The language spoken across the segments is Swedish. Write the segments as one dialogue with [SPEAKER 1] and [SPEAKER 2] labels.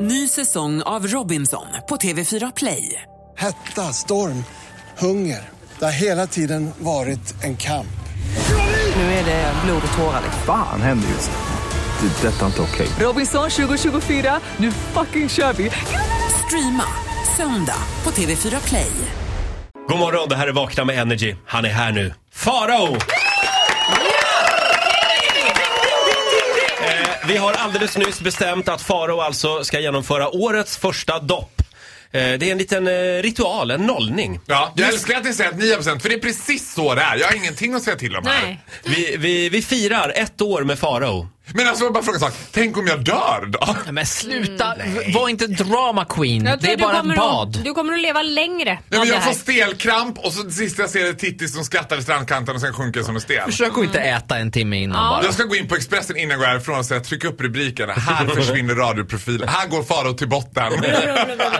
[SPEAKER 1] Ny säsong av Robinson på TV4 Play.
[SPEAKER 2] Hetta, storm, hunger. Det har hela tiden varit en kamp.
[SPEAKER 1] Nu är det blod och tårar.
[SPEAKER 3] Fan händer just nu. Det. är Detta är inte okej.
[SPEAKER 1] Robinson 2024, nu fucking kör vi! Streama söndag på TV4 Play.
[SPEAKER 4] God morgon, det här är Vakna med Energy. Han är här nu. Farao! Eh, Vi har alldeles nyss bestämt att Farao alltså ska genomföra årets första dopp. Eh, Det är en liten eh, ritual, en nollning.
[SPEAKER 5] Ja, jag älskar att ni säger att 9% för det är precis så det är. Jag har ingenting att säga till om här.
[SPEAKER 6] Nej.
[SPEAKER 4] Vi, vi, vi firar ett år med Farao.
[SPEAKER 5] Men alltså jag bara fråga en sak. Tänk om jag dör då?
[SPEAKER 7] Nej, Men sluta, v- var inte drama queen.
[SPEAKER 6] Mm. Jag tror
[SPEAKER 7] Det är
[SPEAKER 6] du
[SPEAKER 7] bara
[SPEAKER 6] kommer
[SPEAKER 7] ett bad.
[SPEAKER 6] Att, du kommer att leva längre
[SPEAKER 5] Nej,
[SPEAKER 6] av
[SPEAKER 5] men
[SPEAKER 6] det
[SPEAKER 5] jag får
[SPEAKER 6] här.
[SPEAKER 5] stelkramp och så det sista jag ser är Titti som skrattar vid strandkanten och sen sjunker som en sten.
[SPEAKER 7] Försök att inte äta en timme innan
[SPEAKER 6] Mm. Ja.
[SPEAKER 7] bara.
[SPEAKER 5] Jag ska gå in på Expressen innan jag går härifrån och säga tryck upp rubrikerna. Här försvinner radioprofilen. Här går Farao till botten.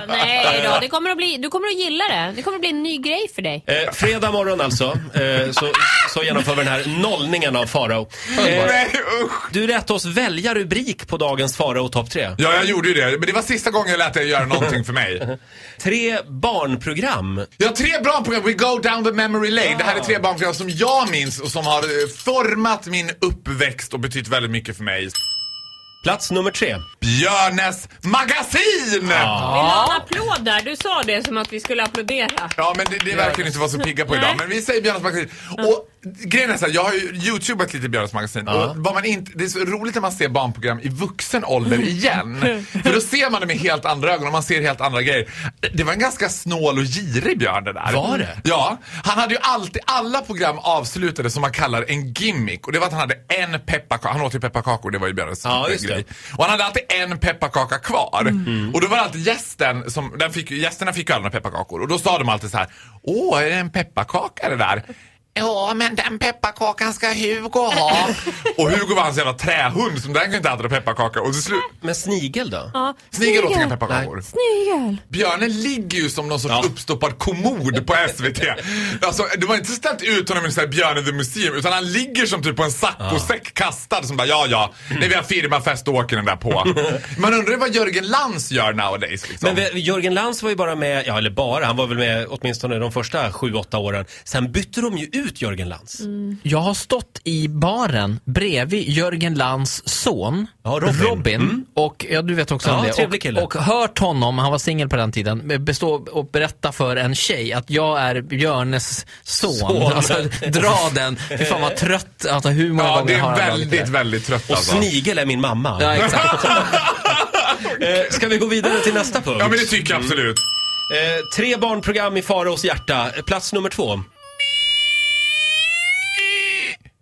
[SPEAKER 6] Nej då, det kommer att bli, du kommer att gilla det. Det kommer att bli en ny grej för dig.
[SPEAKER 4] Eh, fredag morgon alltså, eh, så, så genomför vi den här nollningen av Farao. Eh,
[SPEAKER 5] Nej usch.
[SPEAKER 4] du lät oss välja rubrik på dagens Farao topp tre.
[SPEAKER 5] Ja, jag gjorde ju det. Men det var sista gången jag lät dig göra någonting för mig.
[SPEAKER 4] Tre barnprogram.
[SPEAKER 5] Jag har tre barnprogram. We go down the memory lane. Det här är tre barnprogram som jag minns och som har eh, format min uppväxt och betytt väldigt mycket för mig.
[SPEAKER 4] Plats nummer tre.
[SPEAKER 5] Björnes magasin!
[SPEAKER 6] Vill du
[SPEAKER 5] Ja,
[SPEAKER 6] ha en applåd där? Du sa det som att vi skulle applådera.
[SPEAKER 5] men det, det verkar ni inte vara så pigga på idag.
[SPEAKER 6] Nej.
[SPEAKER 5] Men vi säger Björnes magasin. Och grejen är så här, jag har ju youtubat lite Björnes magasin. Och vad man inte, det är så roligt när man ser barnprogram i vuxen ålder igen. För då ser man det med helt andra ögon och man ser helt andra grejer. Det var en ganska snål och girig Björn det där.
[SPEAKER 4] Var det?
[SPEAKER 5] Ja. Han hade ju alltid, alla program avslutade som man kallar en gimmick. Och det var att han hade en pepparkaka. Han åt ju pepparkakor, det var ju Björnes
[SPEAKER 4] Ja, just
[SPEAKER 5] grej.
[SPEAKER 4] det.
[SPEAKER 5] Och han hade alltid en pepparkaka kvar. Och då var det alltid gästen som, den fick, gästerna fick ju alla pepparkakor. Och då sa de alltid så här, åh är det en pepparkaka det där? Ja, men den pepparkakan ska Hugo ha. och Hugo var hans jävla trähund, som den kunde inte äta pepparkaka. Och till slut,
[SPEAKER 4] Men snigel då?
[SPEAKER 6] Ja.
[SPEAKER 5] Snigel åt inga pepparkakor.
[SPEAKER 6] Snigel!
[SPEAKER 5] Björnen ligger ju som någon sorts
[SPEAKER 4] Ja.
[SPEAKER 5] uppstoppad kommod på SVT. Alltså, de har inte ställt ut honom i en sån här Björnen the Museum utan han ligger som typ på en saccosäck kastad som bara ja ja, när vi har firmafest då åker den där på. Man undrar ju vad Jörgen Lantz gör nowadays liksom.
[SPEAKER 4] Men vi- Jörgen Lantz var ju bara med, ja eller bara, han var väl med åtminstone de första sju, åtta åren. Sen bytte de ju ut Jörgen Lantz.
[SPEAKER 7] Jag har stått i baren bredvid Jörgen Lands son,
[SPEAKER 4] Ja, Robin. Mm.
[SPEAKER 7] och ja, du vet också
[SPEAKER 4] Ja,
[SPEAKER 7] om
[SPEAKER 4] trevlig
[SPEAKER 7] det,
[SPEAKER 4] kille.
[SPEAKER 7] och, och hört honom, han var singel på den tiden, bestå och berätta för en tjej att jag är Björnes son.
[SPEAKER 4] Son.
[SPEAKER 7] Alltså, dra den, fy fan vad trött, alltså hur många
[SPEAKER 5] ja,
[SPEAKER 7] gånger
[SPEAKER 5] det
[SPEAKER 7] har
[SPEAKER 5] är
[SPEAKER 7] han dragit
[SPEAKER 5] väldigt, väldigt trött
[SPEAKER 4] Och
[SPEAKER 5] alltså.
[SPEAKER 4] snigel är min mamma.
[SPEAKER 7] Ja, exakt.
[SPEAKER 4] Eh, ska vi gå vidare till nästa punkt?
[SPEAKER 5] Ja men det tycker jag absolut.
[SPEAKER 4] eh, tre barnprogram i Faraos hjärta. Eh, Plats nummer två.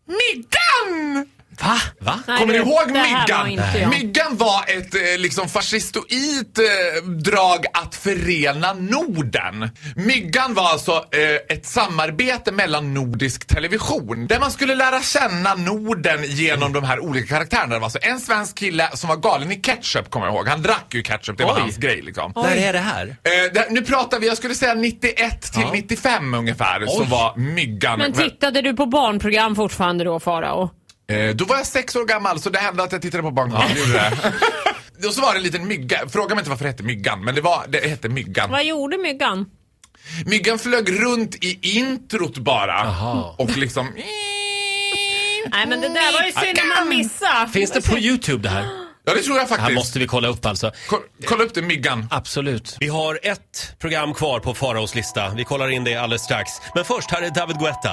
[SPEAKER 5] Myggan!
[SPEAKER 7] Va?
[SPEAKER 4] Va?
[SPEAKER 5] Kommer ni ihåg
[SPEAKER 6] det här var
[SPEAKER 5] myggan?
[SPEAKER 6] inte jag.
[SPEAKER 5] Myggan var ett eh, liksom fascistoid eh, drag att förena Norden. Myggan var alltså eh, ett samarbete mellan nordisk television där man skulle lära känna Norden genom de här olika karaktärerna. Det var alltså en svensk kille som var galen i ketchup kommer jag ihåg. Han drack ju ketchup, det var
[SPEAKER 4] Oj.
[SPEAKER 5] hans grej liksom.
[SPEAKER 4] När är det här?
[SPEAKER 5] Eh, där, nu pratar vi, jag skulle säga 91 till 95 ungefär, så
[SPEAKER 4] Oj.
[SPEAKER 5] var myggan.
[SPEAKER 6] Men tittade du på barnprogram fortfarande då Farao?
[SPEAKER 5] Eh, då var jag sex år gammal så det hände att jag tittade på barnprogram. Det gjorde det. Och så var det en liten mygga. Fråga mig inte varför det hette myggan, men det, var, det hette myggan.
[SPEAKER 6] Vad gjorde myggan?
[SPEAKER 5] Myggan flög runt i introt bara.
[SPEAKER 4] Jaha.
[SPEAKER 5] Och liksom...
[SPEAKER 6] Nej men det där var ju synd att man missade.
[SPEAKER 4] Finns det på Youtube det här?
[SPEAKER 5] Ja, det tror jag
[SPEAKER 4] Det här
[SPEAKER 5] faktiskt.
[SPEAKER 4] måste vi kolla upp alltså.
[SPEAKER 5] Ko- Kolla upp det, myggan.
[SPEAKER 4] Absolut. Vi har ett program kvar på Faraos lista. Vi kollar in det alldeles strax. Men först, här är David Guetta.